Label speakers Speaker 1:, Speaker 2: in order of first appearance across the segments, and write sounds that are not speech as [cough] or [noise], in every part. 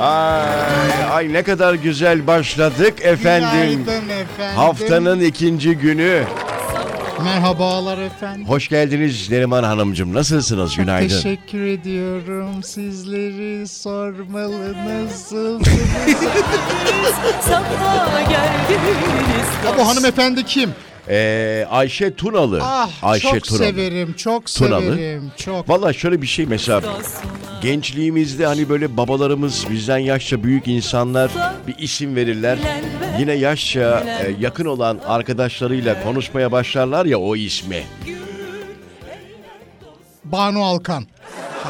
Speaker 1: Ay, ay ne kadar güzel başladık efendim.
Speaker 2: Günaydın efendim.
Speaker 1: Haftanın ikinci günü.
Speaker 2: Merhabalar efendim.
Speaker 1: Hoş geldiniz Neriman Hanımcığım. Nasılsınız? Günaydın.
Speaker 2: Teşekkür ediyorum. Sizleri sormalı
Speaker 1: [laughs]
Speaker 2: nasılsınız?
Speaker 3: Sana geldiniz.
Speaker 2: Ya Bu hanımefendi kim?
Speaker 1: Ee, Ayşe Tunalı.
Speaker 2: Ah
Speaker 1: Ayşe
Speaker 2: çok
Speaker 1: Tunalı.
Speaker 2: severim, çok
Speaker 1: Tunalı.
Speaker 2: severim, çok.
Speaker 1: Valla şöyle bir şey mesela gençliğimizde hani böyle babalarımız bizden yaşça büyük insanlar bir isim verirler. Yine yaşça e, yakın olan arkadaşlarıyla konuşmaya başlarlar ya o ismi.
Speaker 2: Banu Alkan.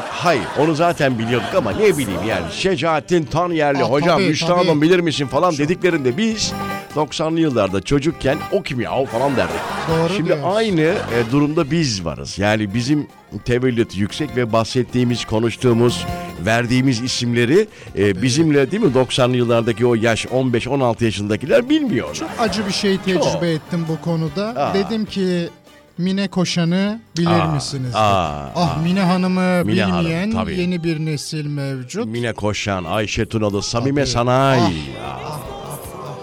Speaker 1: Hayır onu zaten biliyorduk ama ne bileyim yani Şecaettin Tanyerli
Speaker 2: Ah,
Speaker 1: hocam
Speaker 2: tabii,
Speaker 1: Müşra Hanım
Speaker 2: tabii.
Speaker 1: bilir misin falan dediklerinde biz 90'lı yıllarda çocukken o kim ya o falan derdik.
Speaker 2: Doğru
Speaker 1: Şimdi
Speaker 2: diyorsun.
Speaker 1: aynı e, durumda biz varız. Yani bizim tevellüt yüksek ve bahsettiğimiz, konuştuğumuz, verdiğimiz isimleri e, bizimle değil mi 90'lı yıllardaki o yaş 15-16 yaşındakiler bilmiyor.
Speaker 2: Acı bir şey tecrübe
Speaker 1: Çok. Ah.
Speaker 2: ettim bu konuda.
Speaker 1: Aa.
Speaker 2: Dedim ki Mine Koşan'ı bilir
Speaker 1: Aa,
Speaker 2: misiniz?
Speaker 1: aa,
Speaker 2: ah Mine Hanım'ı
Speaker 1: Mine Hanım,
Speaker 2: bilmeyen
Speaker 1: tabii.
Speaker 2: yeni bir nesil mevcut.
Speaker 1: Mine Koşan, Ayşe Tunalı, Samime Sanayi. Ah.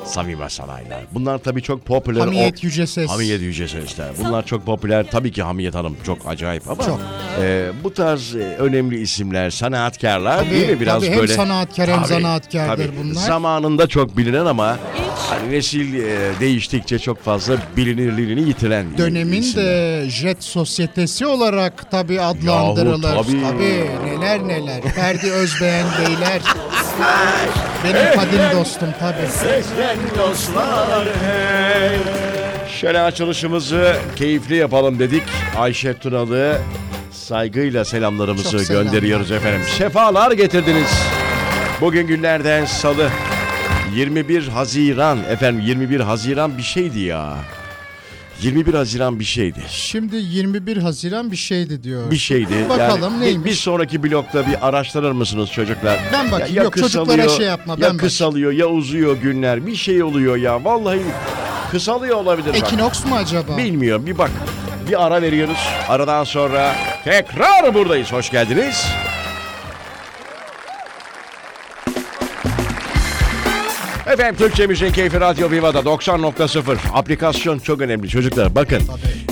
Speaker 1: Samime Sanayiler. Bunlar tabii çok popüler.
Speaker 2: Hamiyet Yüce Ses.
Speaker 1: Hamiyet Yüce Sesler. Bunlar çok popüler. Tabii ki Hamiyet Hanım çok acayip ama
Speaker 2: Çok.
Speaker 1: e, bu tarz e, önemli isimler, sanatkarlar
Speaker 2: Tabii,
Speaker 1: değil mi? Biraz
Speaker 2: tabii. Hem
Speaker 1: böyle.
Speaker 2: sanatkar hem
Speaker 1: Tabii,
Speaker 2: zanaatkardır
Speaker 1: tabii.
Speaker 2: bunlar.
Speaker 1: Zamanında çok bilinen ama hani nesil e, değiştikçe çok fazla bilinirliğini yitiren
Speaker 2: dönemin
Speaker 1: isimler.
Speaker 2: de jet sosyetesi olarak tabi adlandırılır.
Speaker 1: Yahu tabii.
Speaker 2: tabii. neler neler. Ferdi Özbeğen
Speaker 1: [laughs]
Speaker 2: beyler. Benim kadim dostum tabi.
Speaker 1: Seslen dostlar hey. Şöyle açılışımızı keyifli yapalım dedik. Ayşe Tunalı saygıyla selamlarımızı
Speaker 2: Çok selamlar.
Speaker 1: gönderiyoruz efendim. Sefalar getirdiniz. Bugün günlerden salı. 21 Haziran efendim 21 Haziran bir şeydi ya. 21 Haziran bir şeydi.
Speaker 2: Şimdi 21 Haziran bir şeydi diyor.
Speaker 1: Bir şeydi.
Speaker 2: Bakalım
Speaker 1: yani,
Speaker 2: neymiş?
Speaker 1: Bir sonraki blokta bir araştırır mısınız çocuklar?
Speaker 2: Ben bakayım. Yok, çocuklara
Speaker 1: kısalıyor,
Speaker 2: şey yapma, ben
Speaker 1: Ya
Speaker 2: bakayım.
Speaker 1: kısalıyor ya uzuyor günler. Bir şey oluyor ya. Vallahi kısalıyor olabilir. bak.
Speaker 2: Ekinoks mu acaba?
Speaker 1: Bilmiyorum bir bak. Bir ara veriyoruz. Aradan sonra tekrar buradayız. Hoş geldiniz. Efendim Türkçemizin keyfi Radyo Viva'da 90.0 aplikasyon çok önemli çocuklar bakın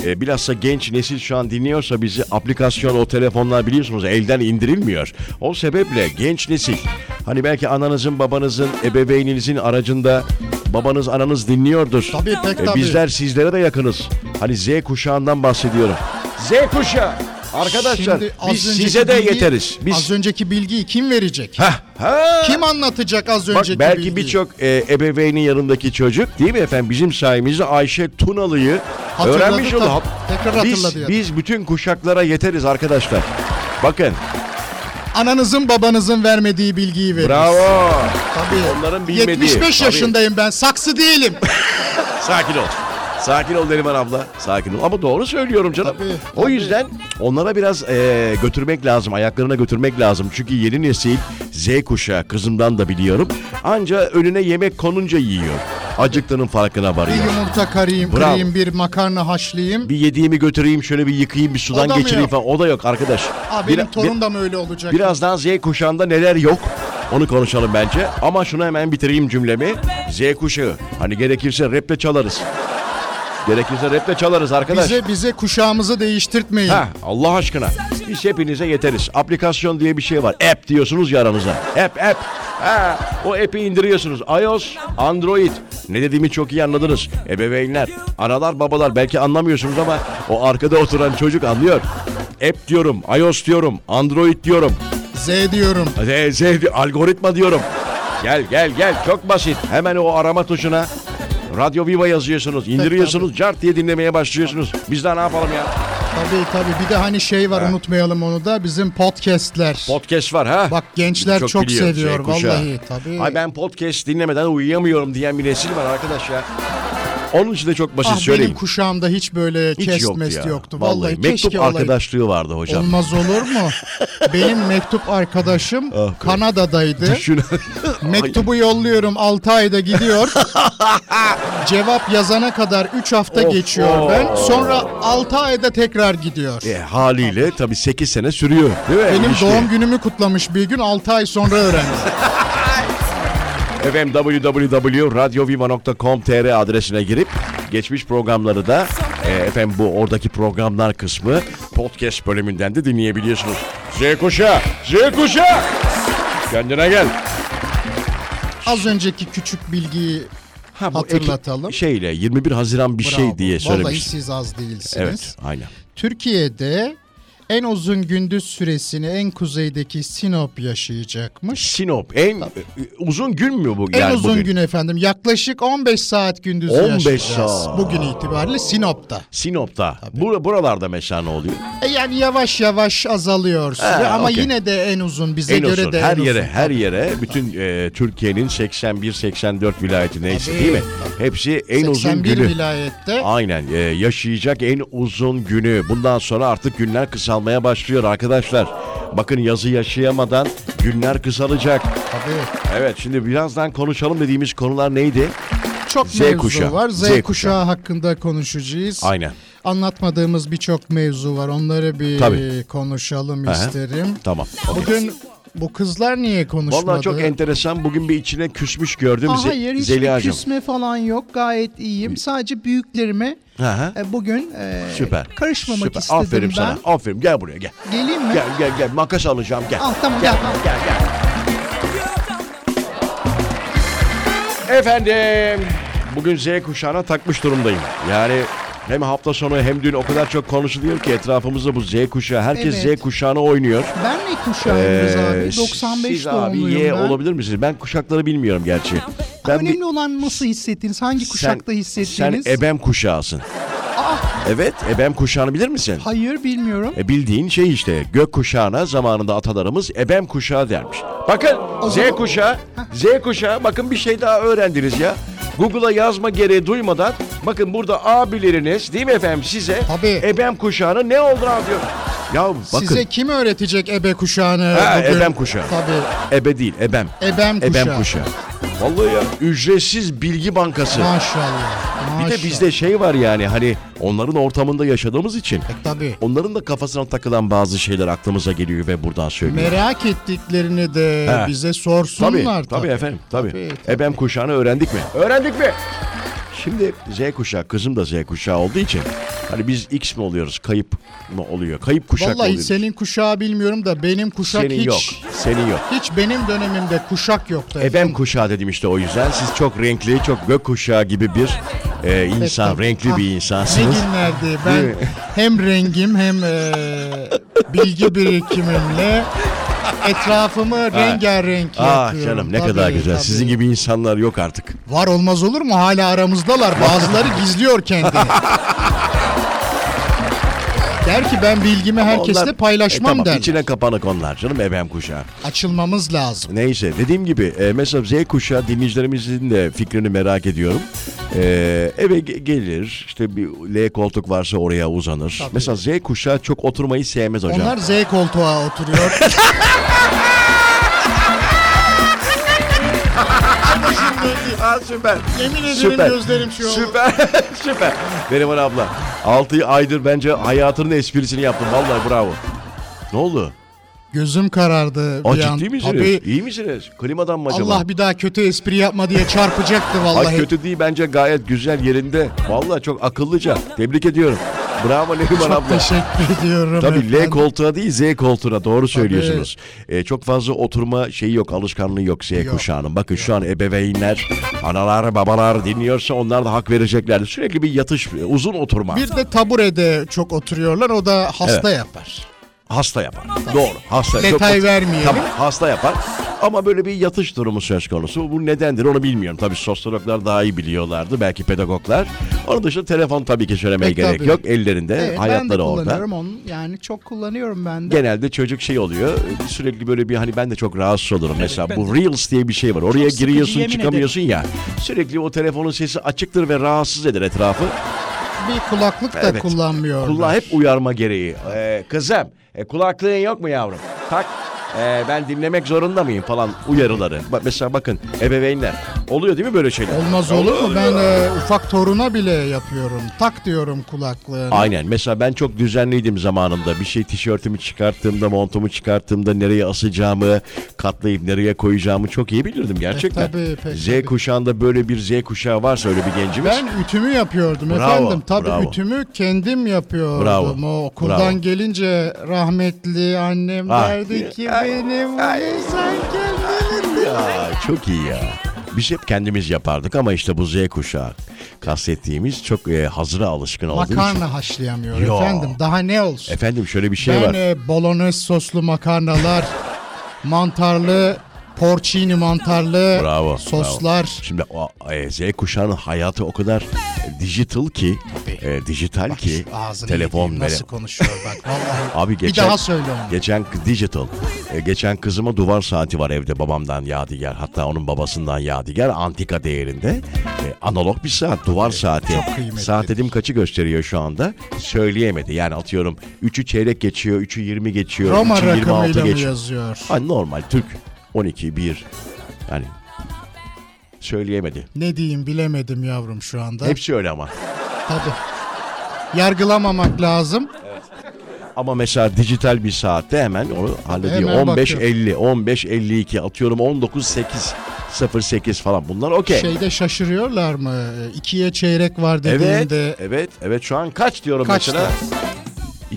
Speaker 1: e, bilhassa genç nesil şu an dinliyorsa bizi aplikasyon o telefonlar biliyorsunuz elden indirilmiyor o sebeple genç nesil hani belki ananızın babanızın ebeveyninizin aracında babanız ananız dinliyordur
Speaker 2: Tabii pek
Speaker 1: e,
Speaker 2: tabii.
Speaker 1: bizler sizlere de yakınız. Hani Z kuşağından bahsediyorum. Z kuşağı. Arkadaşlar
Speaker 2: Şimdi az
Speaker 1: biz
Speaker 2: önceki
Speaker 1: size de
Speaker 2: bilgi-
Speaker 1: yeteriz. Biz
Speaker 2: Az önceki bilgiyi kim verecek?
Speaker 1: Hah, ha.
Speaker 2: Kim anlatacak az
Speaker 1: Bak
Speaker 2: önceki
Speaker 1: belki
Speaker 2: bilgiyi?
Speaker 1: birçok e, ebeveynin yanındaki çocuk değil mi efendim bizim sayemizde Ayşe Tunalı'yı
Speaker 2: Hatırladı
Speaker 1: öğrenmiş oldu.
Speaker 2: tabii.
Speaker 1: Hap-
Speaker 2: Tekrar
Speaker 1: Biz,
Speaker 2: hatırladı ya.
Speaker 1: biz bütün kuşaklara yeteriz arkadaşlar. Bakın
Speaker 2: Ananızın babanızın vermediği bilgiyi verir.
Speaker 1: bravo.
Speaker 2: Tabii.
Speaker 1: Onların bilmediği.
Speaker 2: 75
Speaker 1: Tabii.
Speaker 2: yaşındayım ben. Saksı değilim.
Speaker 1: Sakin ol. Sakin ol Neriman abla. Sakin ol. Ama doğru söylüyorum canım.
Speaker 2: Tabii,
Speaker 1: o yüzden onlara biraz e, götürmek lazım. Ayaklarına götürmek lazım. Çünkü yeni nesil Z kuşağı kızımdan da biliyorum. Anca önüne yemek konunca yiyor. Acıktığının farkına varıyor.
Speaker 2: Bir yumurta karayım,
Speaker 1: Bravo.
Speaker 2: kırayım, bir makarna haşlayayım.
Speaker 1: Bir yediğimi götüreyim şöyle bir yıkayayım bir
Speaker 2: O
Speaker 1: sudan
Speaker 2: da mı
Speaker 1: geçireyim
Speaker 2: yok?
Speaker 1: falan. O da yok arkadaş.
Speaker 2: Aa, benim
Speaker 1: Bir-
Speaker 2: torun da mı öyle olacak?
Speaker 1: Birazdan Z kuşağında neler yok onu konuşalım bence. Ama şunu hemen bitireyim cümlemi. Z kuşağı. Hani gerekirse raple çalarız. Gerekirse raple çalarız arkadaş.
Speaker 2: bize bize kuşağımızı değiştirtmeyin.
Speaker 1: Ha, Allah aşkına. Biz hepinize yeteriz. Aplikasyon diye bir şey var. App diyorsunuz ya aranıza. App, app. Ha, o app'i indiriyorsunuz. iOS, Android. Ne dediğimi çok iyi anladınız. Ebeveynler, analar, babalar belki anlamıyorsunuz ama o arkada oturan çocuk anlıyor. App diyorum, iOS diyorum, Android diyorum.
Speaker 2: Z diyorum.
Speaker 1: Z, Z, algoritma diyorum. Gel gel gel çok basit. Hemen o arama tuşuna Radyo Viva yazıyorsunuz, indiriyorsunuz, cart diye dinlemeye başlıyorsunuz. Biz daha ne yapalım ya?
Speaker 2: Tabii tabii. Bir de hani şey var unutmayalım onu da bizim podcastler.
Speaker 1: Podcast var ha?
Speaker 2: Bak gençler çok,
Speaker 1: biliyor
Speaker 2: seviyor
Speaker 1: Z kuşağı.
Speaker 2: vallahi tabii.
Speaker 1: Ay ben podcast dinlemeden uyuyamıyorum diyen bir nesil var arkadaş ya. Onun için de çok basit
Speaker 2: ah,
Speaker 1: şey söyleyeyim.
Speaker 2: benim kuşağımda hiç böyle
Speaker 1: Hiç
Speaker 2: kes
Speaker 1: yoktu
Speaker 2: mes
Speaker 1: ya.
Speaker 2: yoktu. Vallahi,
Speaker 1: mektup
Speaker 2: keşke olaydı.
Speaker 1: arkadaşlığı vardı hocam.
Speaker 2: Olmaz olur
Speaker 1: [laughs]
Speaker 2: mu? benim mektup arkadaşım
Speaker 1: Ah [laughs]
Speaker 2: Kanada'daydı. [laughs]
Speaker 1: Düşün. [laughs]
Speaker 2: Mektubu yolluyorum 6 ayda gidiyor. Cevap yazana kadar 3 hafta
Speaker 1: Of,
Speaker 2: geçiyor
Speaker 1: of.
Speaker 2: ben. Sonra 6 ayda tekrar gidiyor.
Speaker 1: E, haliyle tabii 8 sene sürüyor değil mi?
Speaker 2: Benim
Speaker 1: İlişki.
Speaker 2: doğum günümü kutlamış bir gün 6 ay sonra öğrendim.
Speaker 1: [laughs] Efendim www.radioviva.com.tr adresine girip geçmiş programları da e, efendim bu oradaki programlar kısmı podcast bölümünden de dinleyebiliyorsunuz. Z kuşağı, Z kuşağı. Kendine gel.
Speaker 2: Az önceki küçük bilgiyi
Speaker 1: Ha, bu
Speaker 2: Hatırlatalım.
Speaker 1: Eki- şeyle 21 Haziran bir şey
Speaker 2: Bravo.
Speaker 1: diye
Speaker 2: Vallahi
Speaker 1: söylemiş.
Speaker 2: siz az değilsiniz.
Speaker 1: Evet, aynen.
Speaker 2: Türkiye'de en uzun gündüz süresini en kuzeydeki Sinop yaşayacakmış.
Speaker 1: Sinop en e, uzun gün mü bu?
Speaker 2: En
Speaker 1: yani
Speaker 2: uzun
Speaker 1: bugün?
Speaker 2: gün efendim. Yaklaşık 15 saat gündüzü
Speaker 1: 15
Speaker 2: yaşayacağız.
Speaker 1: saat.
Speaker 2: Bugün itibariyle Sinop'ta.
Speaker 1: Sinop'ta. Bur- buralarda mesela ne oluyor?
Speaker 2: E yani yavaş yavaş azalıyor süre
Speaker 1: Ha,
Speaker 2: ama
Speaker 1: okey.
Speaker 2: yine de en uzun bize
Speaker 1: En
Speaker 2: göre
Speaker 1: uzun.
Speaker 2: de
Speaker 1: Her
Speaker 2: en
Speaker 1: yere,
Speaker 2: uzun.
Speaker 1: her yere bütün e, Türkiye'nin 81-84 vilayeti neyse
Speaker 2: Tabii.
Speaker 1: değil mi? Hepsi en uzun
Speaker 2: 81
Speaker 1: günü.
Speaker 2: vilayette
Speaker 1: Aynen e, yaşayacak en uzun günü. Bundan sonra artık günler kısalmaya başlıyor arkadaşlar. Bakın yazı yaşayamadan günler kısalacak.
Speaker 2: tabii
Speaker 1: Evet şimdi birazdan konuşalım dediğimiz konular neydi?
Speaker 2: çok
Speaker 1: Z
Speaker 2: mevzu
Speaker 1: kuşağı,
Speaker 2: var. Z,
Speaker 1: Z
Speaker 2: kuşağı.
Speaker 1: kuşağı.
Speaker 2: hakkında konuşacağız.
Speaker 1: Aynen.
Speaker 2: Anlatmadığımız birçok mevzu var. Onları bir
Speaker 1: Tabii.
Speaker 2: konuşalım
Speaker 1: Aha.
Speaker 2: isterim.
Speaker 1: Tamam. okey.
Speaker 2: Bugün bu kızlar niye konuşmadı?
Speaker 1: Vallahi çok enteresan. Bugün bir içine küsmüş gördüm.
Speaker 2: Aa,
Speaker 1: Ze-
Speaker 2: hayır hiç
Speaker 1: Zeliha'cığım.
Speaker 2: küsme falan yok. Gayet iyiyim. Sadece büyüklerime
Speaker 1: Aha.
Speaker 2: e, bugün e,
Speaker 1: Süper.
Speaker 2: karışmamak
Speaker 1: Süper.
Speaker 2: istedim
Speaker 1: Aferin
Speaker 2: ben.
Speaker 1: sana. Aferin. Gel buraya gel.
Speaker 2: Geleyim mi?
Speaker 1: Gel gel gel. Makas alacağım. Gel.
Speaker 2: Al tamam gel. al.
Speaker 1: Gel gel. Efendim. Bugün Z kuşağına takmış durumdayım. Yani hem hafta sonu hem dün o kadar çok konuşuluyor ki etrafımızda bu Z kuşağı. Herkes
Speaker 2: Evet.
Speaker 1: Z kuşağına oynuyor.
Speaker 2: Ben ne kuşağıyız
Speaker 1: Ee,
Speaker 2: abi? 95
Speaker 1: siz abi
Speaker 2: doğumluyum
Speaker 1: Y
Speaker 2: ben.
Speaker 1: olabilir misiniz? Ben kuşakları bilmiyorum gerçi.
Speaker 2: Ama
Speaker 1: Ben bir-
Speaker 2: Önemli olan nasıl hissettiniz? Hangi kuşakta hissettiğiniz? Ah!
Speaker 1: Sen ebem kuşağısın. Evet, ebem kuşağını bilir misin?
Speaker 2: Hayır bilmiyorum.
Speaker 1: E bildiğin şey işte gök kuşağına zamanında atalarımız ebem kuşağı dermiş. Bakın Z
Speaker 2: zaman-
Speaker 1: kuşağı, Z kuşağı bakın bir şey daha öğrendiniz ya. Google'a yazma gereği duymadan bakın burada abileriniz değil mi efendim size
Speaker 2: Tabii.
Speaker 1: ebem kuşağının ne olduğunu anlıyor. Ya bakın
Speaker 2: Size kim öğretecek ebe kuşağını?
Speaker 1: Ha,
Speaker 2: bugün?
Speaker 1: ebem kuşağı.
Speaker 2: Tabii.
Speaker 1: ebe değil ebem.
Speaker 2: Ebem
Speaker 1: Ebem
Speaker 2: kuşağı.
Speaker 1: kuşağı. Vallahi ya ücretsiz bilgi bankası.
Speaker 2: Maşallah.
Speaker 1: Bir
Speaker 2: maşallah.
Speaker 1: de bizde şey var yani hani onların ortamında yaşadığımız için
Speaker 2: E, tabii.
Speaker 1: onların da kafasına takılan bazı şeyler aklımıza geliyor ve buradan söylüyor.
Speaker 2: Merak ettiklerini de
Speaker 1: He.
Speaker 2: bize
Speaker 1: Tabii,
Speaker 2: sorsunlar.
Speaker 1: tabii, efendim, tabii.
Speaker 2: Tabii,
Speaker 1: Ebem kuşağını öğrendik mi? Öğrendik mi? Şimdi Z kuşağı, kızım da Z kuşağı olduğu için hani biz X mi oluyoruz, kayıp mı oluyor? Kayıp kuşak mı
Speaker 2: Vallahi
Speaker 1: oluyoruz.
Speaker 2: senin kuşağı bilmiyorum da benim kuşak
Speaker 1: Senin
Speaker 2: hiç
Speaker 1: yok, senin yok.
Speaker 2: hiç benim dönemimde kuşak yoktu.
Speaker 1: Ebem kuşağı dedim işte o yüzden. Siz çok renkli, çok gök kuşağı gibi bir e, insan,
Speaker 2: tabii.
Speaker 1: renkli
Speaker 2: Ah,
Speaker 1: bir
Speaker 2: Ne
Speaker 1: insansınız.
Speaker 2: günlerdi. Ben hem rengim hem e, bilgi birikimimle etrafımı rengarenk
Speaker 1: Ah
Speaker 2: yapıyorum.
Speaker 1: canım ne
Speaker 2: Tabii,
Speaker 1: kadar güzel.
Speaker 2: tabii.
Speaker 1: Sizin gibi insanlar yok artık.
Speaker 2: Var olmaz olur mu? Hala aramızdalar. Bazıları gizliyor kendini.
Speaker 1: [laughs]
Speaker 2: der ki ben bilgimi herkesle
Speaker 1: Onlar-
Speaker 2: paylaşmam
Speaker 1: e, tamam,
Speaker 2: der.
Speaker 1: İçine kapanık onlar canım ebem kuşağı.
Speaker 2: Açılmamız lazım.
Speaker 1: Neyse dediğim gibi e, mesela Z kuşağı dinleyicilerimizin de fikrini merak ediyorum. E, eve ge- gelir işte bir L koltuk varsa oraya uzanır. Mesela Z kuşağı çok oturmayı sevmez hocam.
Speaker 2: Onlar Z koltuğa
Speaker 1: [laughs]
Speaker 2: oturuyor.
Speaker 1: Aa, süper.
Speaker 2: Yemin ederim
Speaker 1: Süper.
Speaker 2: gözlerim şey oldu.
Speaker 1: Süper. [laughs] süper. Benim abla. 6 aydır bence hayatının esprisini yaptım. Vallahi bravo. Ne oldu?
Speaker 2: Gözüm karardı
Speaker 1: Aa,
Speaker 2: bir an.
Speaker 1: ciddi misiniz?
Speaker 2: Tabii
Speaker 1: İyi misiniz? Klimadan mı acaba?
Speaker 2: Allah bir daha kötü espri yapma diye çarpacaktı vallahi.
Speaker 1: Ay kötü değil bence gayet güzel yerinde. Vallahi çok akıllıca. Tebrik ediyorum. Bravo Neriman
Speaker 2: Çok
Speaker 1: abla.
Speaker 2: teşekkür
Speaker 1: [laughs]
Speaker 2: ediyorum.
Speaker 1: Tabii L
Speaker 2: efendim.
Speaker 1: koltuğa değil Z koltuğuna doğru söylüyorsunuz. Ee, çok fazla oturma şeyi yok, alışkanlığı yok Z kuşağının. Bakın şu an ebeveynler, analar, babalar dinliyorsa onlar da hak vereceklerdir. Sürekli bir yatış, e, uzun oturma
Speaker 2: Bir de taburede çok oturuyorlar. O da hasta yapar.
Speaker 1: hasta yapar. Doğru, hasta. çok
Speaker 2: Detay
Speaker 1: otur-
Speaker 2: vermeyelim.
Speaker 1: Tamam, hasta yapar. Ama böyle bir yatış durumu söz konusu. Bu nedendir onu bilmiyorum. Tabii sosyologlar daha iyi biliyorlardı. Belki pedagoglar. Onun dışında telefon tabii ki söylemeye
Speaker 2: Pek
Speaker 1: gerek
Speaker 2: tabii.
Speaker 1: yok. Ellerinde
Speaker 2: Evet, ben de
Speaker 1: hayatları orada.
Speaker 2: kullanıyorum onu. Yani çok kullanıyorum ben de.
Speaker 1: Genelde çocuk şey oluyor. Sürekli böyle bir hani ben de çok rahatsız olurum. Mesela bu Reels diye bir şey var. Oraya
Speaker 4: sıkıcı,
Speaker 1: giriyorsun
Speaker 4: yemin
Speaker 1: çıkamıyorsun ya. Sürekli o telefonun sesi açıktır ve rahatsız eder etrafı.
Speaker 2: Bir kulaklık da
Speaker 1: Evet.
Speaker 2: kullanmıyorum.
Speaker 1: Kulağı hep uyarma gereği. Ee, kızım e, kulaklığın yok mu yavrum? Tak e, ben dinlemek zorunda mıyım falan uyarıları. Bak mesela bakın ebeveynler. Oluyor değil mi böyle şeyler?
Speaker 2: Olmaz olur mu? Ben e, ufak toruna bile yapıyorum. Tak diyorum kulaklığını.
Speaker 1: Aynen. Mesela ben çok düzenliydim zamanında. Bir şey tişörtümü çıkarttığımda, montumu çıkarttığımda nereye asacağımı, katlayıp nereye koyacağımı çok iyi bilirdim gerçekten.
Speaker 2: E, tabii, pek
Speaker 1: Z
Speaker 2: tabii.
Speaker 1: kuşağında böyle bir Z kuşağı varsa öyle bir gencimiz.
Speaker 2: Ben ütümü yapıyordum
Speaker 1: Bravo,
Speaker 2: efendim. Tabii
Speaker 1: bravo.
Speaker 2: ütümü kendim yapıyordum.
Speaker 1: Bravo,
Speaker 2: O okuldan
Speaker 1: bravo.
Speaker 2: gelince rahmetli annem
Speaker 1: Ah.
Speaker 2: derdi ki benim sen kendin.
Speaker 1: Ya çok iyi ya. Biz hep kendimiz yapardık ama işte bu Z kuşağı kastettiğimiz çok e, hazıra alışkın olduğu için.
Speaker 2: Makarna haşlayamıyor
Speaker 1: Yo.
Speaker 2: efendim. Daha ne olsun?
Speaker 1: Efendim şöyle bir şey
Speaker 2: ben
Speaker 1: var.
Speaker 2: e, bolognese soslu
Speaker 1: [laughs]
Speaker 2: makarnalar, mantarlı, porcini mantarlı
Speaker 1: Bravo.
Speaker 2: soslar.
Speaker 1: bravo. Şimdi o e, Z kuşağının hayatı o kadar e, digital ki, e, dijital ki
Speaker 2: Ağzını
Speaker 1: telefon
Speaker 2: yediğim
Speaker 1: böyle.
Speaker 2: nasıl konuşuyor
Speaker 1: [laughs]
Speaker 2: bak vallahi.
Speaker 1: Abi geçen,
Speaker 2: daha söyle onu.
Speaker 1: Geçen k- digital. E, geçen kızıma duvar saati var evde babamdan yadigar. Hatta onun babasından yadigar. Antika değerinde. E, analog bir saat. Duvar saati.
Speaker 2: kıymetlidir.
Speaker 1: Saat dedim kaçı gösteriyor şu anda? Söyleyemedi. Yani atıyorum 3'ü çeyrek geçiyor, 3'ü 20 geçiyor,
Speaker 2: Roma
Speaker 1: 3'ü 26
Speaker 2: rakamıyla mı
Speaker 1: geçiyor.
Speaker 2: yazıyor?
Speaker 1: Ha, normal Türk. 12, 1. Yani söyleyemedi.
Speaker 2: Ne diyeyim bilemedim yavrum şu anda.
Speaker 1: Hepsi öyle ama.
Speaker 2: Tabii. Yargılamamak lazım.
Speaker 1: Ama mesela dijital bir saatte hemen onu hallediyor.
Speaker 2: Hemen
Speaker 1: 15.50, 15.52 atıyorum 19.08, 08 falan bunlar okey.
Speaker 2: Şeyde şaşırıyorlar mı? İkiye çeyrek var
Speaker 1: evet,
Speaker 2: dediğinde
Speaker 1: evet, evet şu an kaç diyorum
Speaker 2: Kaçtı?
Speaker 1: mesela.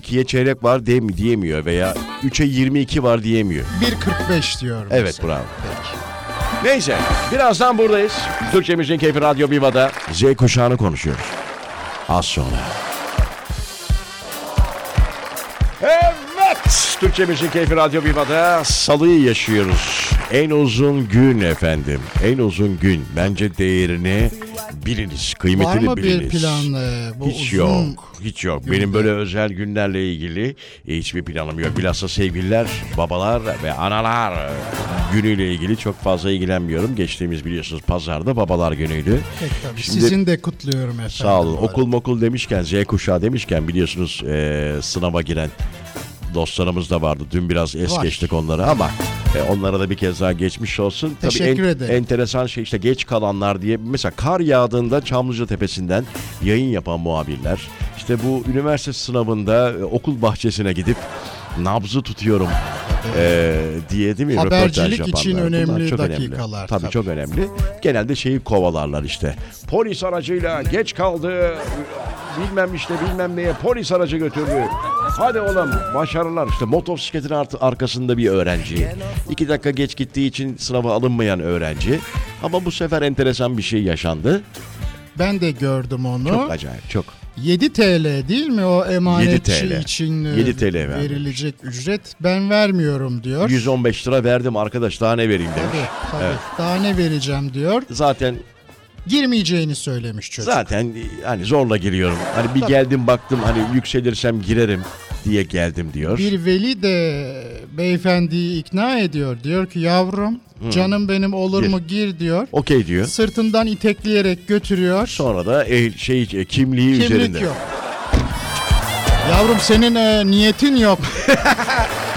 Speaker 1: 2'ye çeyrek var diyemi- diyemiyor veya 3'e 22 var diyemiyor.
Speaker 2: 1.45 diyorum.
Speaker 1: Evet bravo. Neyse birazdan buradayız. Türkçe Müziğin Keyfi Radyo Viva'da Z kuşağını konuşuyoruz. Az sonra. Evet. Türkçe Müzik Keyfi Radyo Viva'da salıyı yaşıyoruz. En uzun gün efendim. En uzun gün. Bence değerini biliniz.
Speaker 2: Var
Speaker 1: Kıymetini
Speaker 2: mı bir
Speaker 1: biliniz.
Speaker 2: plan e, bu
Speaker 1: Hiç
Speaker 2: uzun
Speaker 1: yok. Hiç yok. Benim böyle özel günlerle ilgili hiçbir planım yok. Bilhassa sevgililer, babalar ve analar günüyle ilgili çok fazla ilgilenmiyorum. Geçtiğimiz biliyorsunuz pazarda babalar günüydü.
Speaker 2: Pek tabii.
Speaker 1: Şimdi-
Speaker 2: Sizin de kutluyorum efendim.
Speaker 1: Sağ
Speaker 2: bu
Speaker 1: olun.
Speaker 2: arada.
Speaker 1: Okul mokul demişken, Z kuşağı demişken biliyorsunuz eee, sınava giren dostlarımız da vardı. Dün biraz es
Speaker 2: Var.
Speaker 1: geçtik onları ama e, onlara da bir kez daha geçmiş olsun.
Speaker 2: Teşekkür
Speaker 1: en-
Speaker 2: ederim.
Speaker 1: Enteresan şey işte geç kalanlar diye. Mesela kar yağdığında Çamlıca Tepesi'nden yayın yapan muhabirler. İşte bu üniversite sınavında e, okul bahçesine gidip nabzı tutuyorum e, diye değil mi?
Speaker 2: Habercilik
Speaker 1: Röportaj
Speaker 2: için
Speaker 1: yapanlar. Bunlar
Speaker 2: önemli
Speaker 1: çok
Speaker 2: dakikalar,
Speaker 1: Tabii,
Speaker 2: tabii.
Speaker 1: çok önemli. Genelde şeyi kovalarlar işte. Polis aracıyla geç kaldı. Bilmem işte bilmem neye polis aracı götürdü. Hadi oğlum başarılar. İşte motosikletin art- arkasında bir öğrenci. iki dakika geç gittiği için sınava alınmayan öğrenci. Ama bu sefer enteresan bir şey yaşandı.
Speaker 2: Ben de gördüm onu.
Speaker 1: Çok acayip çok.
Speaker 2: 7 TL değil mi o emanetçi
Speaker 1: 7 TL.
Speaker 2: için e,
Speaker 1: 7 TL vermiş.
Speaker 2: verilecek ücret? Ben vermiyorum diyor.
Speaker 1: 115 lira verdim arkadaş daha ne vereyim demiş.
Speaker 2: Tabii, tabii. Daha ne vereceğim diyor.
Speaker 1: Zaten
Speaker 2: Girmeyeceğini söylemiş çocuk.
Speaker 1: Zaten hani zorla giriyorum. Hani bir geldim baktım hani yükselirsem girerim diye geldim diyor.
Speaker 2: Bir veli de beyefendiyi ikna ediyor. Diyor ki yavrum canım benim olur
Speaker 1: Gir.
Speaker 2: mu gir diyor.
Speaker 1: Okey diyor.
Speaker 2: Sırtından itekleyerek götürüyor.
Speaker 1: Sonra da e, şey e, kimliği
Speaker 2: Kimlik
Speaker 1: üzerinde.
Speaker 2: yok. Yavrum senin e, niyetin
Speaker 1: [laughs]
Speaker 2: yok.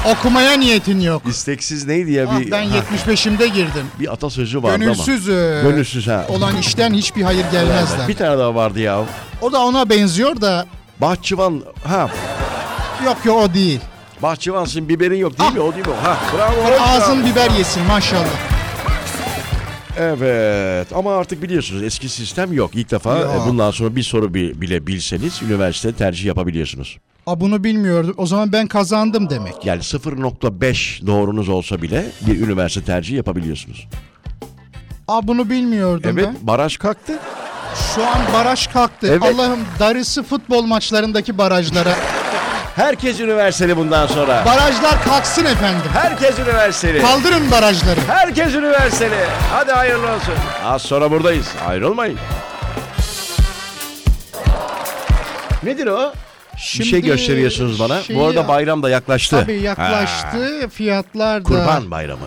Speaker 2: Okumaya niyetin yok.
Speaker 1: İsteksiz neydi ya
Speaker 2: Ah,
Speaker 1: bir
Speaker 2: ben
Speaker 1: ha,
Speaker 2: 75'imde girdim.
Speaker 1: bir atasözü vardı
Speaker 2: Gönülsüz, e,
Speaker 1: ama. Gönülsüz ha.
Speaker 2: olan işten hiçbir hayır gelmez der.
Speaker 1: Bir tane daha vardı ya.
Speaker 2: O da ona benziyor da
Speaker 1: Bahçıvan ha
Speaker 2: yok yok o değil.
Speaker 1: bahçıvansın biberin yok değil mi? O değil mi? Ha bravo.
Speaker 2: Ah. Ağzın biber yesin maşallah.
Speaker 1: Evet ama artık biliyorsunuz eski sistem yok. İlk defa
Speaker 2: Yok.
Speaker 1: e, bundan sonra bir soru bi- bile bilseniz üniversite tercih yapabiliyorsunuz.
Speaker 2: Aa, bunu bilmiyordum. O zaman ben kazandım demek.
Speaker 1: Yani 0.5 doğrunuz olsa bile bir üniversite tercihi yapabiliyorsunuz.
Speaker 2: Aa bunu bilmiyordum
Speaker 1: Evet
Speaker 2: ben.
Speaker 1: baraj kalktı.
Speaker 2: Şu an baraj kalktı.
Speaker 1: Evet.
Speaker 2: Allah'ım darısı futbol maçlarındaki barajlara.
Speaker 1: Herkes üniversiteli bundan sonra.
Speaker 2: Barajlar kalksın efendim.
Speaker 1: Herkes üniversiteli.
Speaker 2: Kaldırın barajları.
Speaker 1: Herkes üniversiteli. Hadi hayırlı olsun. Az sonra buradayız. Ayrılmayın. Nedir o? bir şey
Speaker 2: Şimdi
Speaker 1: gösteriyorsunuz bana.
Speaker 2: şeyi-
Speaker 1: Bu arada bayram da yaklaştı.
Speaker 2: Tabii yaklaştı. Fiyatlar da
Speaker 1: Kurban bayramı.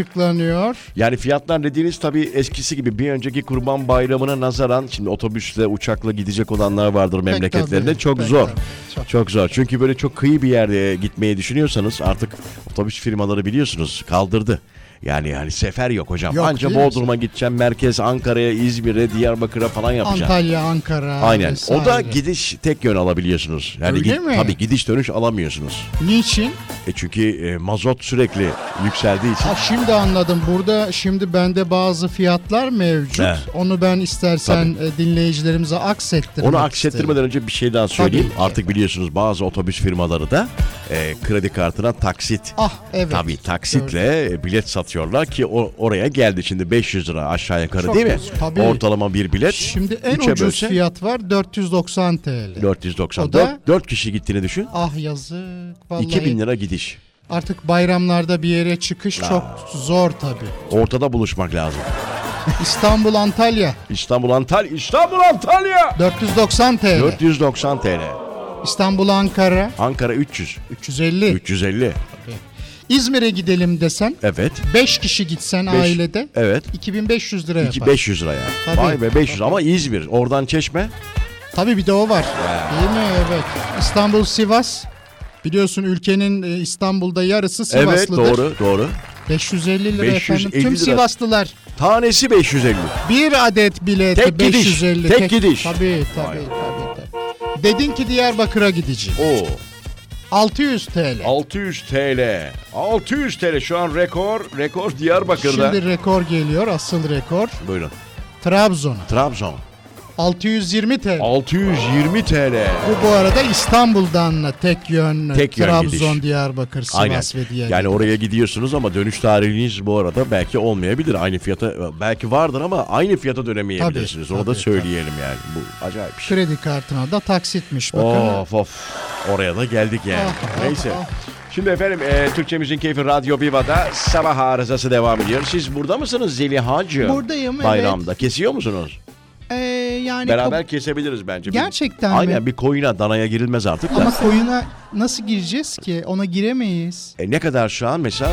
Speaker 2: açıklanıyor.
Speaker 1: Yani fiyatlar dediğiniz tabii eskisi gibi bir önceki kurban bayramına nazaran şimdi otobüsle uçakla gidecek olanlar vardır memleketlerinde.
Speaker 2: tabii,
Speaker 1: çok
Speaker 2: pek
Speaker 1: zor.
Speaker 2: tabii,
Speaker 1: Çok.
Speaker 2: çok.
Speaker 1: zor. Çünkü böyle çok kıyı bir yerde gitmeyi düşünüyorsanız artık otobüs firmaları biliyorsunuz kaldırdı. Yani yani sefer yok hocam.
Speaker 2: Yok,
Speaker 1: Anca
Speaker 2: değil mi?
Speaker 1: Bodrum'a gideceğim, merkez Ankara'ya, İzmir'e, Diyarbakır'a falan yapacağım.
Speaker 2: Antalya, Ankara.
Speaker 1: Aynen.
Speaker 2: vesaire.
Speaker 1: O da gidiş tek yön alabiliyorsunuz. Yani
Speaker 2: Öyle
Speaker 1: git-
Speaker 2: mi?
Speaker 1: tabii gidiş dönüş alamıyorsunuz.
Speaker 2: Niçin?
Speaker 1: E çünkü e, mazot sürekli yükseldiği için.
Speaker 2: Ha, şimdi anladım. Burada şimdi bende bazı fiyatlar mevcut.
Speaker 1: He.
Speaker 2: Onu ben istersen e, dinleyicilerimize aksettirmek
Speaker 1: Onu
Speaker 2: isterim.
Speaker 1: aksettirmeden önce bir şey daha söyleyeyim.
Speaker 2: Tabii.
Speaker 1: Artık biliyorsunuz bazı otobüs firmaları da e, kredi kartına taksit.
Speaker 2: Ah evet.
Speaker 1: Tabii taksitle e, bilet satıyorlar ki o oraya geldi şimdi 500 lira aşağı yukarı
Speaker 2: Çok
Speaker 1: değil mi?
Speaker 2: ucuz, tabii.
Speaker 1: Ortalama bir bilet.
Speaker 2: Şimdi en
Speaker 1: üçe
Speaker 2: ucuz
Speaker 1: bölse
Speaker 2: fiyat var 490 TL.
Speaker 1: 490.
Speaker 2: O da-
Speaker 1: 4 kişi gittiğini düşün.
Speaker 2: Ah yazık. Vallahi
Speaker 1: 2000 lira gidiş.
Speaker 2: artık bayramlarda bir yere çıkış çok zor tabii.
Speaker 1: Ortada buluşmak lazım.
Speaker 2: İstanbul Antalya
Speaker 1: İstanbul Antalya, İstanbul Antalya.
Speaker 2: 490 TL.
Speaker 1: 490 TL.
Speaker 2: İstanbul Ankara
Speaker 1: Ankara 300.
Speaker 2: 350.
Speaker 1: 350.
Speaker 2: İzmir'e gidelim desen
Speaker 1: Evet.
Speaker 2: 5 kişi gitsen
Speaker 1: Beş-
Speaker 2: ailede
Speaker 1: Evet.
Speaker 2: 2500 lira yapar.
Speaker 1: İki- 500 lira yani.
Speaker 2: Tabii.
Speaker 1: Vay be 500 ama İzmir. Oradan Çeşme.
Speaker 2: Tabii bir de o var. Değil mi? Evet. İstanbul Sivas biliyorsun ülkenin e, İstanbul'da yarısı
Speaker 1: Evet
Speaker 2: Sivaslıdır.
Speaker 1: doğru doğru.
Speaker 2: 550 lira
Speaker 1: 550
Speaker 2: efendim. Tüm
Speaker 1: lira.
Speaker 2: Sivaslılar
Speaker 1: Tanesi 550.
Speaker 2: Bir adet bilete
Speaker 1: Tek gidiş,
Speaker 2: 550.
Speaker 1: tek gidiş.
Speaker 2: Tabii tabii,
Speaker 1: Vay.
Speaker 2: tabii tabii. Dedin ki Diyarbakır'a gideceğim.
Speaker 1: Oo
Speaker 2: 600 TL.
Speaker 1: 600 TL. 600 TL şu an rekor. Rekor Diyarbakır'da.
Speaker 2: Şimdi rekor geliyor, asıl rekor.
Speaker 1: Buyurun.
Speaker 2: Trabzon'a
Speaker 1: Trabzon.
Speaker 2: 620 TL.
Speaker 1: 620 TL.
Speaker 2: Bu bu arada İstanbul'dan tek yön
Speaker 1: Tek yön
Speaker 2: Trabzon,
Speaker 1: gidiş.
Speaker 2: Diyarbakır, Sivas
Speaker 1: Aynen.
Speaker 2: ve diğer.
Speaker 1: Yani oraya gidiyorsunuz ama dönüş tarihiniz bu arada belki olmayabilir. Aynı fiyata belki vardır ama aynı fiyata dönemeyebilirsiniz.
Speaker 2: Tabii,
Speaker 1: Onu da
Speaker 2: tabii,
Speaker 1: söyleyelim yani. Bu acayip bir şey.
Speaker 2: kredi kartına da taksitmiş bakın.
Speaker 1: Of of. Oraya da geldik yani.
Speaker 2: Ah, ah,
Speaker 1: Neyse.
Speaker 2: ah.
Speaker 1: Şimdi efendim e, Türkçemizin Keyfi Radyo Viva'da sabah arızası devam ediyor. Siz burada mısınız Zelihacı?
Speaker 2: Buradayım, evet.
Speaker 1: Bayramda kesiyor musunuz?
Speaker 2: Ee, yani
Speaker 1: Beraber
Speaker 2: kap-
Speaker 1: kesebiliriz bence. Bir-
Speaker 2: Gerçekten mi?
Speaker 1: Aynen bir koyuna danaya girilmez artık da.
Speaker 2: ama koyuna nasıl gireceğiz ki? Ona giremeyiz.
Speaker 1: E, ne kadar şu an mesela?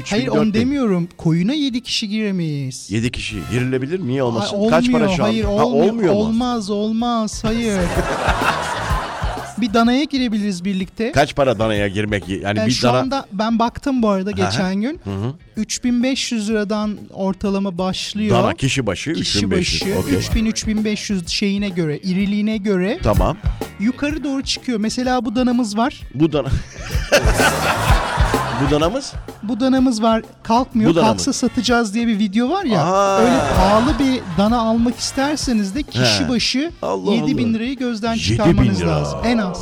Speaker 1: 3
Speaker 2: Hayır onu demiyorum. Koyuna 7 kişi giremeyiz.
Speaker 1: 7 kişi girilebilir niye
Speaker 2: Ay,
Speaker 1: olmasın?
Speaker 2: olmuyor,
Speaker 1: Kaç para şu an?
Speaker 2: Hayır,
Speaker 1: Ha,
Speaker 2: olmuyor,
Speaker 1: olmuyor mu?
Speaker 2: Olmaz, olmaz.
Speaker 1: [laughs]
Speaker 2: Hayır. bir danaya girebiliriz birlikte.
Speaker 1: Kaç para danaya girmek? Yani
Speaker 2: Ee,
Speaker 1: bir
Speaker 2: şu
Speaker 1: dana
Speaker 2: anda ben baktım bu arada geçen gün. 3500 liradan ortalama başlıyor.
Speaker 1: dana kişi başı
Speaker 2: Kişi
Speaker 1: 3500.
Speaker 2: başı
Speaker 1: Okey.
Speaker 2: 3000-3500 şeyine göre, iriliğine göre
Speaker 1: Tamam.
Speaker 2: yukarı doğru çıkıyor. Mesela bu danamız var.
Speaker 1: Bu dana Bu danamız?
Speaker 2: Bu danamız var kalkmıyor.
Speaker 1: Bu dana
Speaker 2: Kalksa
Speaker 1: mı?
Speaker 2: satacağız diye bir video var ya.
Speaker 1: Aa.
Speaker 2: Öyle pahalı bir dana almak isterseniz de kişi
Speaker 1: He.
Speaker 2: başı
Speaker 1: Allah
Speaker 2: 7 bin
Speaker 1: Allah.
Speaker 2: lirayı gözden
Speaker 1: 7 bin
Speaker 2: çıkarmanız
Speaker 1: lira.
Speaker 2: lazım. En az.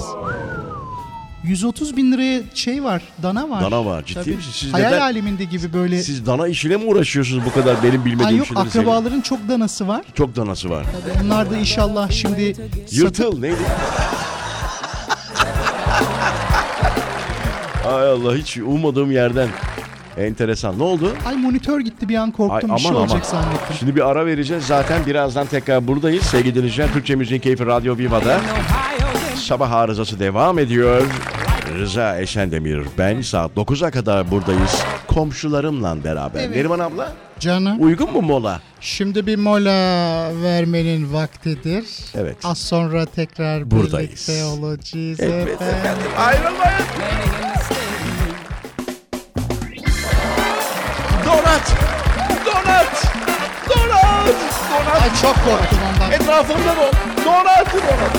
Speaker 2: 130 bin liraya şey var, dana var.
Speaker 1: Dana var, ciddi
Speaker 2: Tabii.
Speaker 1: misin? Siz
Speaker 2: Hayal
Speaker 1: neden-
Speaker 2: aleminde gibi böyle.
Speaker 1: Siz dana işine mi uğraşıyorsunuz bu kadar benim bilmediğim
Speaker 2: Ay yok
Speaker 1: şeyleri seviyorum.
Speaker 2: akrabaların çok danası var.
Speaker 1: Çok danası var.
Speaker 2: Bunlar da inşallah şimdi
Speaker 1: Yırtıl neydi? Ay Allah hiç ummadığım yerden. Enteresan. Ne oldu?
Speaker 2: Ay monitör gitti bir an korktum
Speaker 1: Ay,
Speaker 2: bir şey
Speaker 1: aman,
Speaker 2: olacak
Speaker 1: aman.
Speaker 2: zannettim.
Speaker 1: Şimdi bir ara vereceğiz. Zaten birazdan tekrar buradayız. Sevgili dinleyiciler Türkçe Müziğin Keyfi Radyo Viva'da. Sabah arızası devam ediyor. Rıza Eşendemir. Ben saat 9'a kadar buradayız. Komşularımla beraber. Neriman abla
Speaker 2: Canım
Speaker 1: uygun mu mola?
Speaker 2: şimdi bir mola vermenin vaktidir.
Speaker 1: Evet.
Speaker 2: Az sonra tekrar
Speaker 1: Buradayız.
Speaker 2: birlikte olacağız
Speaker 1: Evet
Speaker 2: efendim.
Speaker 1: efendim ayrılmayın. Donat! Donat! Donat! Donat!
Speaker 2: Ay çok korktum ondan.
Speaker 1: Etrafımda don. Donat! Donat!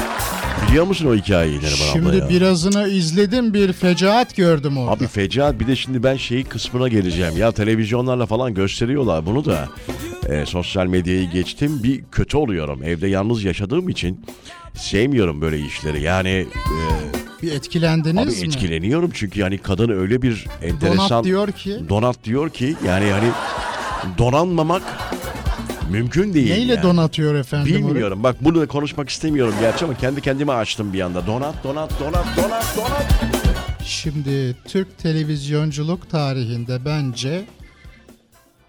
Speaker 1: Biliyor musun o hikayeyi Neriman abla ya?
Speaker 2: Şimdi birazını izledim bir fecaat gördüm orada.
Speaker 1: Abi fecaat bir de şimdi ben şeyi kısmına geleceğim. Ya televizyonlarla falan gösteriyorlar bunu da. Ee, sosyal medyayı geçtim bir kötü oluyorum. Evde yalnız yaşadığım için sevmiyorum böyle işleri. Yani
Speaker 2: bir
Speaker 1: e,
Speaker 2: etkilendiniz mi?
Speaker 1: abi etkileniyorum çünkü yani kadın öyle bir enteresan...
Speaker 2: Donat diyor ki
Speaker 1: Donat diyor ki yani yani donanmamak mümkün değil.
Speaker 2: neyle
Speaker 1: yani.
Speaker 2: donatıyor efendim? orayı?
Speaker 1: Bilmiyorum. Bak bunu da konuşmak istemiyorum gerçi ama kendi kendime açtım bir anda. Donat, donat, donat, donat, donat.
Speaker 2: Şimdi Türk televizyonculuk tarihinde bence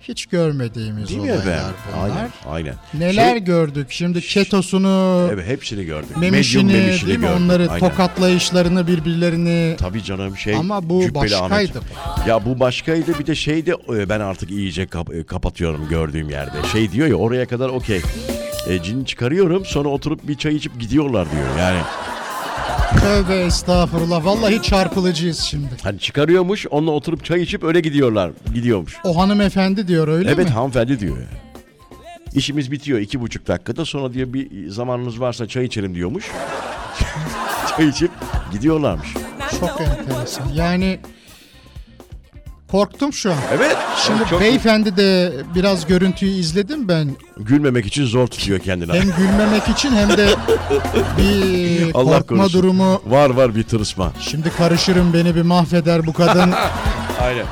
Speaker 2: Hiç görmediğimiz
Speaker 1: Değil mi
Speaker 2: olaylar
Speaker 1: efendim?
Speaker 2: bunlar.
Speaker 1: Aynen, aynen.
Speaker 2: Neler
Speaker 1: Şey-
Speaker 2: gördük? Şimdi ketosunu,
Speaker 1: Evet hepsini gördük.
Speaker 2: memişini,
Speaker 1: Medyum
Speaker 2: değil mi?
Speaker 1: gördük.
Speaker 2: Onları
Speaker 1: Aynen.
Speaker 2: tokatlayışlarını birbirlerini
Speaker 1: Tabii canım şey.
Speaker 2: Ama bu
Speaker 1: Cübbeli
Speaker 2: başkaydı.
Speaker 1: Ahmet. Ya bu başkaydı bir de şey de e, ben artık iyice kap- e, kapatıyorum gördüğüm yerde. Şey diyor ya oraya kadar okey. E, cini çıkarıyorum sonra oturup bir çay içip gidiyorlar diyor. Yani
Speaker 2: tövbe estağfurullah. Vallahi çarpılıcıyız şimdi.
Speaker 1: hani çıkarıyormuş onunla oturup çay içip öyle gidiyorlar. Gidiyormuş.
Speaker 2: O hanımefendi diyor öyle
Speaker 1: evet
Speaker 2: mi?
Speaker 1: hanımefendi diyor. İşimiz bitiyor iki buçuk dakikada sonra diyor bir zamanınız varsa çay içelim diyormuş. [laughs] çay içip gidiyorlarmış.
Speaker 2: Çok enteresan. Yani korktum şu an.
Speaker 1: Evet.
Speaker 2: Şimdi
Speaker 1: çok
Speaker 2: beyefendi de biraz görüntüyü izledim ben.
Speaker 1: gülmemek için zor tutuyor kendini.
Speaker 2: Hem gülmemek için hem de bir
Speaker 1: [laughs] Allah
Speaker 2: korkma
Speaker 1: korusun.
Speaker 2: durumu.
Speaker 1: Var var bir tırısma.
Speaker 2: Şimdi karışırım beni bir mahveder bu
Speaker 1: [laughs]
Speaker 2: kadın.
Speaker 1: Aynen.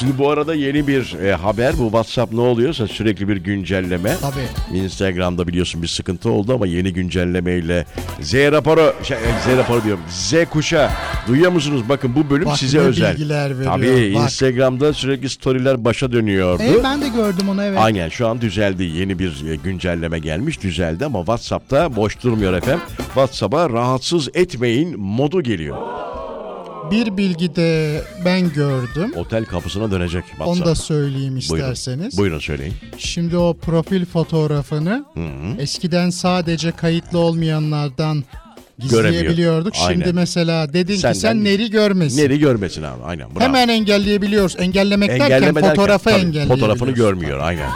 Speaker 1: Şimdi bu arada yeni bir e, haber bu WhatsApp ne oluyorsa sürekli bir güncelleme.
Speaker 2: Tabii.
Speaker 1: Instagram'da biliyorsun bir sıkıntı oldu ama yeni güncellemeyle Z raporu şey, Z raporu diyorum. Z kuşa duyuyor musunuz? Bakın bu bölüm
Speaker 2: Bak
Speaker 1: size
Speaker 2: ne
Speaker 1: özel.
Speaker 2: bilgiler veriyor,
Speaker 1: Tabii
Speaker 2: bak.
Speaker 1: Instagram'da sürekli storyler başa dönüyordu.
Speaker 2: E, ben de gördüm onu evet.
Speaker 1: Aynen şu an düzeldi. Yeni bir e, güncelleme gelmiş düzeldi ama WhatsApp'ta boş durmuyor efendim. WhatsApp'a rahatsız etmeyin modu geliyor.
Speaker 2: Bir bilgi de ben gördüm.
Speaker 1: Otel kapısına dönecek WhatsApp.
Speaker 2: Onu da söyleyeyim
Speaker 1: Buyurun.
Speaker 2: isterseniz.
Speaker 1: Buyurun söyleyin.
Speaker 2: Şimdi o profil fotoğrafını eskiden sadece kayıtlı olmayanlardan gizleyebiliyorduk.
Speaker 1: Aynen.
Speaker 2: Şimdi mesela dedin
Speaker 1: Senden
Speaker 2: ki sen neri görmesin.
Speaker 1: Neri görmesin abi aynen. Bravo.
Speaker 2: Hemen engelleyebiliyoruz. Engellemek derken
Speaker 1: Engelleme derken,
Speaker 2: fotoğrafı
Speaker 1: tabii,
Speaker 2: engelleyebiliyoruz.
Speaker 1: Fotoğrafını görmüyor aynen.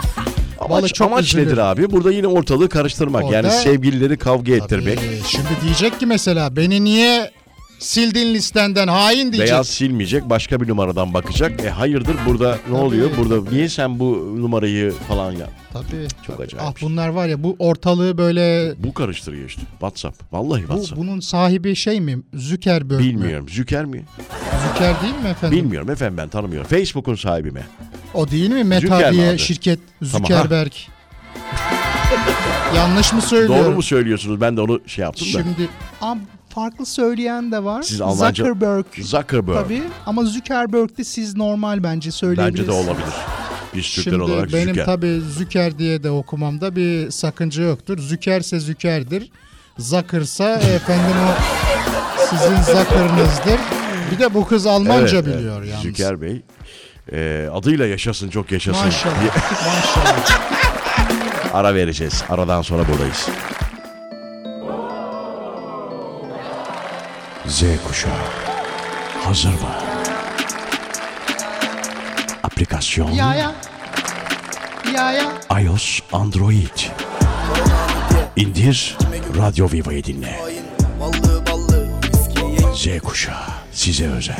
Speaker 1: Amaç,
Speaker 2: Vallahi çok
Speaker 1: amaç
Speaker 2: üzülürüm.
Speaker 1: nedir abi? Burada yine ortalığı karıştırmak. Yani
Speaker 2: Orada-
Speaker 1: sevgilileri kavga ettirmek.
Speaker 2: Ee, şimdi diyecek ki mesela beni niye sildin listenden hain diyecek.
Speaker 1: Beyaz silmeyecek başka bir numaradan bakacak. E hayırdır burada ne oluyor? Burada niye sen bu numarayı falan ya?
Speaker 2: Tabii. Çok
Speaker 1: acayip
Speaker 2: Ah
Speaker 1: bir şey.
Speaker 2: bunlar var ya bu ortalığı böyle
Speaker 1: Bu karıştırıyor işte. WhatsApp. Vallahi
Speaker 2: bu,
Speaker 1: WhatsApp.
Speaker 2: bunun sahibi şey mi? Zuckerberg mi?
Speaker 1: Bilmiyorum. Züker mi?
Speaker 2: Zucker değil mi efendim?
Speaker 1: Bilmiyorum efendim ben tanımıyorum. Facebook'un sahibi mi?
Speaker 2: O değil mi? Meta
Speaker 1: Zucker mi
Speaker 2: diye
Speaker 1: adı?
Speaker 2: şirket
Speaker 1: Tamam, [laughs]
Speaker 2: Zuckerberg. Yanlış mı söylüyorum?
Speaker 1: Doğru mu söylüyorsunuz? Ben de onu şey yaptım da.
Speaker 2: Şimdi Aa, farklı söyleyen de var.
Speaker 1: Siz Almanca-
Speaker 2: Zuckerberg.
Speaker 1: Zuckerberg.
Speaker 2: Tabii ama Zuckerberg de siz normal bence
Speaker 1: Bence de
Speaker 2: söyleyebilirsiniz.
Speaker 1: olabilir. Biz Türkler
Speaker 2: Şimdi
Speaker 1: olarak
Speaker 2: benim
Speaker 1: Züker.
Speaker 2: tabii Züker diye de okumamda bir sakınca yoktur. Zükerse Züker'dir.
Speaker 1: [laughs]
Speaker 2: Zakırsa efendim o sizin zakırınızdır. Bir de bu kız Almanca
Speaker 1: Evet, evet.
Speaker 2: biliyor yalnız.
Speaker 1: Züker Bey. e, adıyla yaşasın çok yaşasın.
Speaker 2: Maşallah. maşallah.
Speaker 1: Ara vereceğiz. Aradan sonra buradayız. Z kuşağı hazır mı? Aplikasyon
Speaker 2: Ya ya. Ya ya.
Speaker 1: iOS Android. İndir Radyo Viva'yı dinle.
Speaker 4: Ballı ballı viski yenge
Speaker 1: Z kuşağı size özel.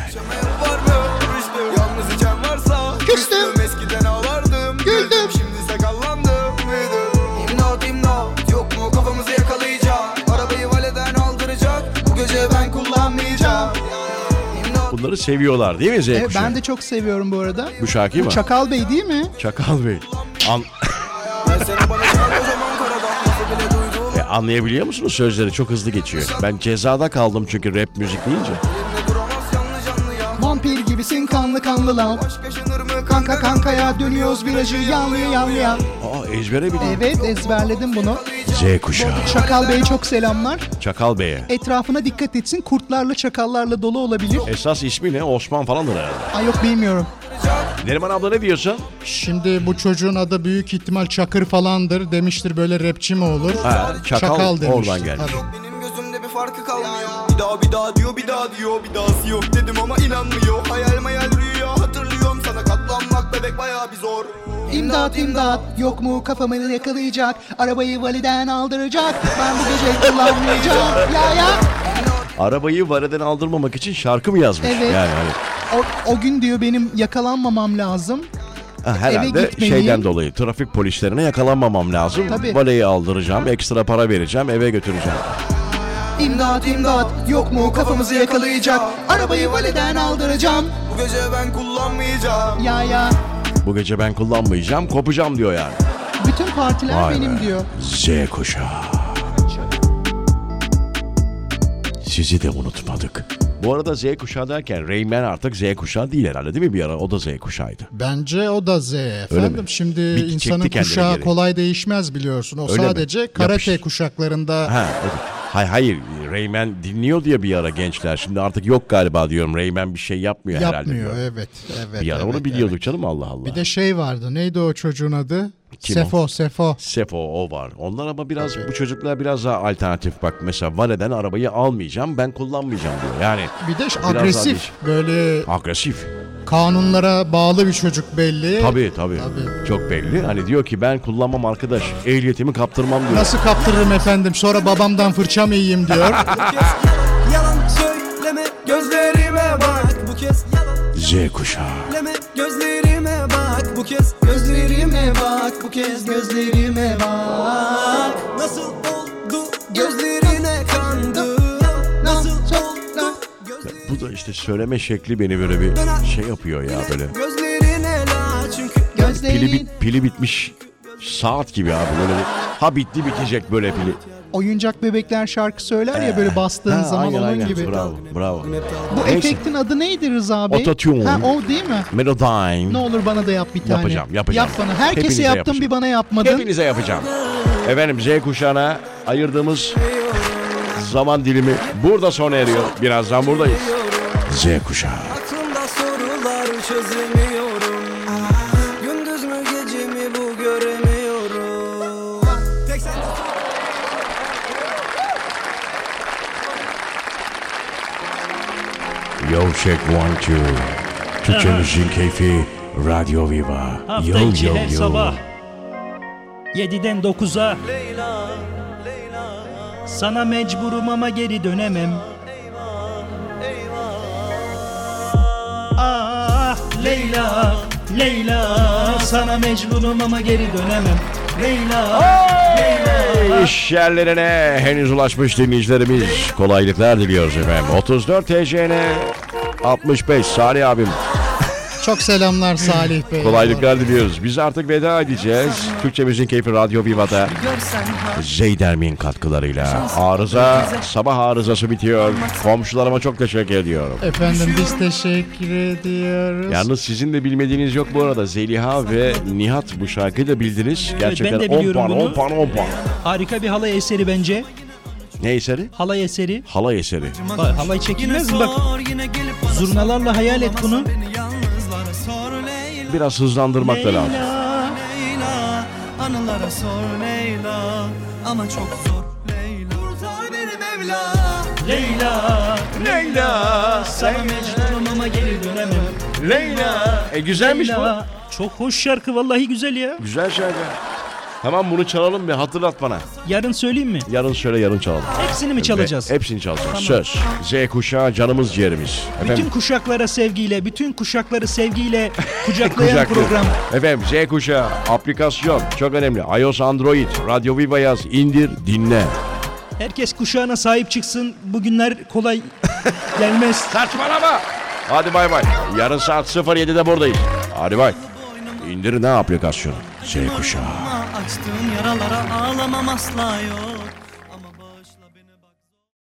Speaker 4: var mı? Rüştüm Yalnız içen varsa
Speaker 2: Küstüm.
Speaker 4: Eskiden ağlardım Güldüm Şimdi sakallandım Büyüdüm İmdat imdat Yok mu kafamızı yakalayacak Arabayı valeden aldıracak Bu gece ben kullanmayacağım İmdat
Speaker 1: Bunları seviyorlar değil mi Z
Speaker 2: E,
Speaker 1: kuşağı?
Speaker 2: ben de çok seviyorum bu arada.
Speaker 1: Bu şarkıyı mı?
Speaker 2: Çakal Bey değil mi?
Speaker 1: Çakal Bey. An-
Speaker 4: Ben seni bana çağır o zaman karadan Nasıl bile duydun
Speaker 1: E, anlayabiliyor musunuz sözleri? Çok hızlı geçiyor. Ben cezada kaldım çünkü rap müzik deyince.
Speaker 4: Elimde duramaz canlı canlı ya
Speaker 2: Vampir gibisin kanlı kanlı lan.
Speaker 4: Aşk yaşanır mı
Speaker 2: Kanka kankaya dönüyoruz virajı yanlı yanlıya.
Speaker 1: Aa ezbere biliyor.
Speaker 2: Evet ezberledim bunu.
Speaker 1: Z kuşağı.
Speaker 2: Çakal Bey'e çok selamlar.
Speaker 1: Çakal Bey'e.
Speaker 2: Etrafına dikkat etsin kurtlarla çakallarla dolu olabilir.
Speaker 1: Esas ismi ne? Osman falandır herhalde.
Speaker 2: Ay yok bilmiyorum.
Speaker 1: Neriman abla ne diyorsun?
Speaker 2: Şimdi bu çocuğun adı büyük ihtimal Çakır falandır demiştir böyle rapçi mi olur?
Speaker 1: Ha, çakal,
Speaker 2: demiştir.
Speaker 1: oradan gelmiş.
Speaker 2: Tabii.
Speaker 4: Benim gözümde bir farkı kalmıyor Bir daha bir daha diyor bir daha diyor Bir dahası yok dedim ama inanmıyor Hayal mayal rüya hatırlıyorum Sana katlanmak bebek bayağı bir zor
Speaker 5: İmdat imdat yok mu kafamı yakalayacak Arabayı validen aldıracak Ben bu gece kullanmayacağım Ya ya
Speaker 1: Arabayı vareden aldırmamak için şarkı mı yazmış?
Speaker 5: Evet.
Speaker 1: Yani hani,
Speaker 5: o, o gün diyor benim yakalanmamam lazım
Speaker 1: ha, herhalde
Speaker 5: gitmeliyim.
Speaker 1: şeyden dolayı trafik polislerine yakalanmamam lazım.
Speaker 5: Tabii.
Speaker 1: Valeyi aldıracağım, ekstra para vereceğim, eve götüreceğim.
Speaker 5: İmdat imdat yok mu kafamızı yakalayacak Arabayı validen aldıracağım
Speaker 4: Bu gece ben kullanmayacağım
Speaker 5: Ya ya
Speaker 1: Bu gece ben kullanmayacağım, kopacağım diyor yani.
Speaker 5: bütün partiler
Speaker 1: Vay
Speaker 5: benim
Speaker 1: be.
Speaker 5: diyor
Speaker 1: Z kuşağı. Sizi de unutmadık. Bu arada Z kuşağı derken Rayman artık Z kuşağı değil herhalde değil mi bir ara? O da Z kuşağıydı.
Speaker 2: Bence o da Z efendim. Şimdi
Speaker 1: Bir çekti
Speaker 2: insanın
Speaker 1: kendini
Speaker 2: kuşağı
Speaker 1: geri.
Speaker 2: kolay değişmez biliyorsun. O
Speaker 1: Öyle mi?
Speaker 2: sadece karate
Speaker 1: Yapıştır.
Speaker 2: kuşaklarında
Speaker 1: Ha, okey. Hay- hayır Rayman dinliyor diye bir ara gençler. Şimdi artık yok galiba diyorum. Rayman bir şey yapmıyor, herhalde.
Speaker 2: yapmıyor.
Speaker 1: diyorum.
Speaker 2: Evet, evet.
Speaker 1: Bir ara
Speaker 2: evet,
Speaker 1: onu biliyorduk canım Allah Allah.
Speaker 2: Bir de şey vardı. Neydi o çocuğun adı?
Speaker 1: Kim o?
Speaker 2: Sefo, Sefo.
Speaker 1: Sefo o var. Onlar ama biraz bu çocuklar biraz daha alternatif bak. Mesela valeden arabayı almayacağım ben kullanmayacağım diyor. Yani
Speaker 2: Bir de ş-
Speaker 1: Biraz daha
Speaker 2: agresif.
Speaker 1: değişik.
Speaker 2: Böyle
Speaker 1: agresif.
Speaker 2: kanunlara bağlı bir çocuk belli.
Speaker 1: Tabii tabii.
Speaker 2: Tabii.
Speaker 1: Çok belli. Hani diyor ki ben kullanmam arkadaş. Ehliyetimi kaptırmam diyor.
Speaker 2: Nasıl kaptırırım efendim? Sonra babamdan fırça mı yiyeyim diyor.
Speaker 1: [laughs]
Speaker 4: Yalan söyleme gözlerime bak Bu kez yalan
Speaker 1: Z kuşağı.
Speaker 4: Gözlerime, gözlerime bak bu kez Gözlerime bak bu kez gözlerime bak Nasıl oldu gözlerine kandı Nasıl oldu gözlerine
Speaker 1: Bu da işte söyleme şekli beni böyle bir şey yapıyor ya böyle.
Speaker 4: Gözlerine la çünkü göz
Speaker 1: Pili, bit, pili bitmiş saat gibi abi böyle. bir- Ha bitti bitecek böyle pili.
Speaker 5: Oyuncak bebekler şarkı söyler ya böyle bastığın
Speaker 1: Ha,
Speaker 5: zaman
Speaker 1: aynen,
Speaker 5: onun
Speaker 1: aynen.
Speaker 5: gibi.
Speaker 1: Bravo bravo.
Speaker 5: Bu
Speaker 1: Neyse.
Speaker 5: efektin adı neydi Rıza abi?
Speaker 1: Autotune.
Speaker 5: Ha o değil mi?
Speaker 1: Melodyne.
Speaker 5: Ne olur bana da yap bir tane.
Speaker 1: Yapacağım, yapacağım.
Speaker 5: Yap bana. Herkese
Speaker 1: Hepinize
Speaker 5: yaptın
Speaker 1: yapacağım.
Speaker 5: bir bana yapmadın.
Speaker 1: Hepinize yapacağım. Efendim Z kuşağına ayırdığımız zaman dilimi burada sona eriyor. Birazdan buradayız. Z kuşağı.
Speaker 4: Aklımda sorular çözemiyorum Gündüz mü gece mi bu göremiyorum Tek sen
Speaker 1: Yo check one two. Türkçe müziğin keyfi Radyo Viva.
Speaker 6: Hafta içi her sabah 7'den 9'a Sana mecburum ama geri dönemem Ah Leyla Leyla Sana mecburum ama geri dönemem Leyla
Speaker 1: İş yerlerine henüz ulaşmış dinleyicilerimiz kolaylıklar diliyoruz efendim. 34 TCN 65 Salih abim
Speaker 2: Çok selamlar Salih Bey.
Speaker 1: kolaylıklar diliyoruz. Biz artık veda edeceğiz. Türkçe Müzik Keyfi Radyo Viva'da
Speaker 3: Görsen ha
Speaker 1: Zeydermin katkılarıyla arıza sabah arızası bitiyor. Komşularıma çok teşekkür ediyorum.
Speaker 2: Efendim biz teşekkür ediyoruz.
Speaker 1: Yalnız sizin de bilmediğiniz yok bu arada. Zeliha ve Nihat bu şarkıyı da bildiniz. Gerçekten
Speaker 6: ben de
Speaker 1: 10
Speaker 6: biliyorum
Speaker 1: puan,
Speaker 6: bunu.
Speaker 1: 10 puan, 10 puan.
Speaker 6: Harika bir halay eseri bence
Speaker 1: Ne eseri?
Speaker 6: Halay eseri
Speaker 1: Halay eseri.
Speaker 6: Bak, Halay çekilmez mi bak
Speaker 4: sor yine gelip bana
Speaker 6: Zurnalarla hayal et bunu
Speaker 4: Beni yalnızlara sor Leyla
Speaker 1: Biraz hızlandırmak da lazım.
Speaker 4: Leyla
Speaker 6: Leyla
Speaker 4: Anılara sor Leyla Ama çok zor Leyla Kurtar beni Mevla
Speaker 6: Leyla
Speaker 1: Leyla,
Speaker 6: Sana mecburum ama geri dönemem
Speaker 1: Leyla. E güzelmiş bu.
Speaker 6: Leyla. Çok hoş şarkı vallahi güzel ya.
Speaker 1: Güzel şarkı. Hemen bunu çalalım bir hatırlat bana.
Speaker 6: Yarın söyleyeyim mi?
Speaker 1: Yarın söyle yarın çalalım.
Speaker 6: Hepsini mi çalacağız?
Speaker 1: Ve hepsini çalacağız. Söz. Z kuşağı canımız ciğerimiz.
Speaker 6: Bütün kuşaklara sevgiyle, bütün kuşakları sevgiyle kucaklayan
Speaker 1: Kucaklı.
Speaker 6: program.
Speaker 1: Efendim Z kuşağı aplikasyon çok önemli. iOS Android Radyo Viva yaz indir dinle.
Speaker 6: Herkes kuşağına sahip çıksın. Bugünler kolay gelmez.
Speaker 1: Saçmalama. Hadi bay bay. Yarın saat 07'de buradayız. Hadi bay. İndir ne aplikasyonu? Z kuşağı.
Speaker 4: Açtığım yaralara ağlamam asla yok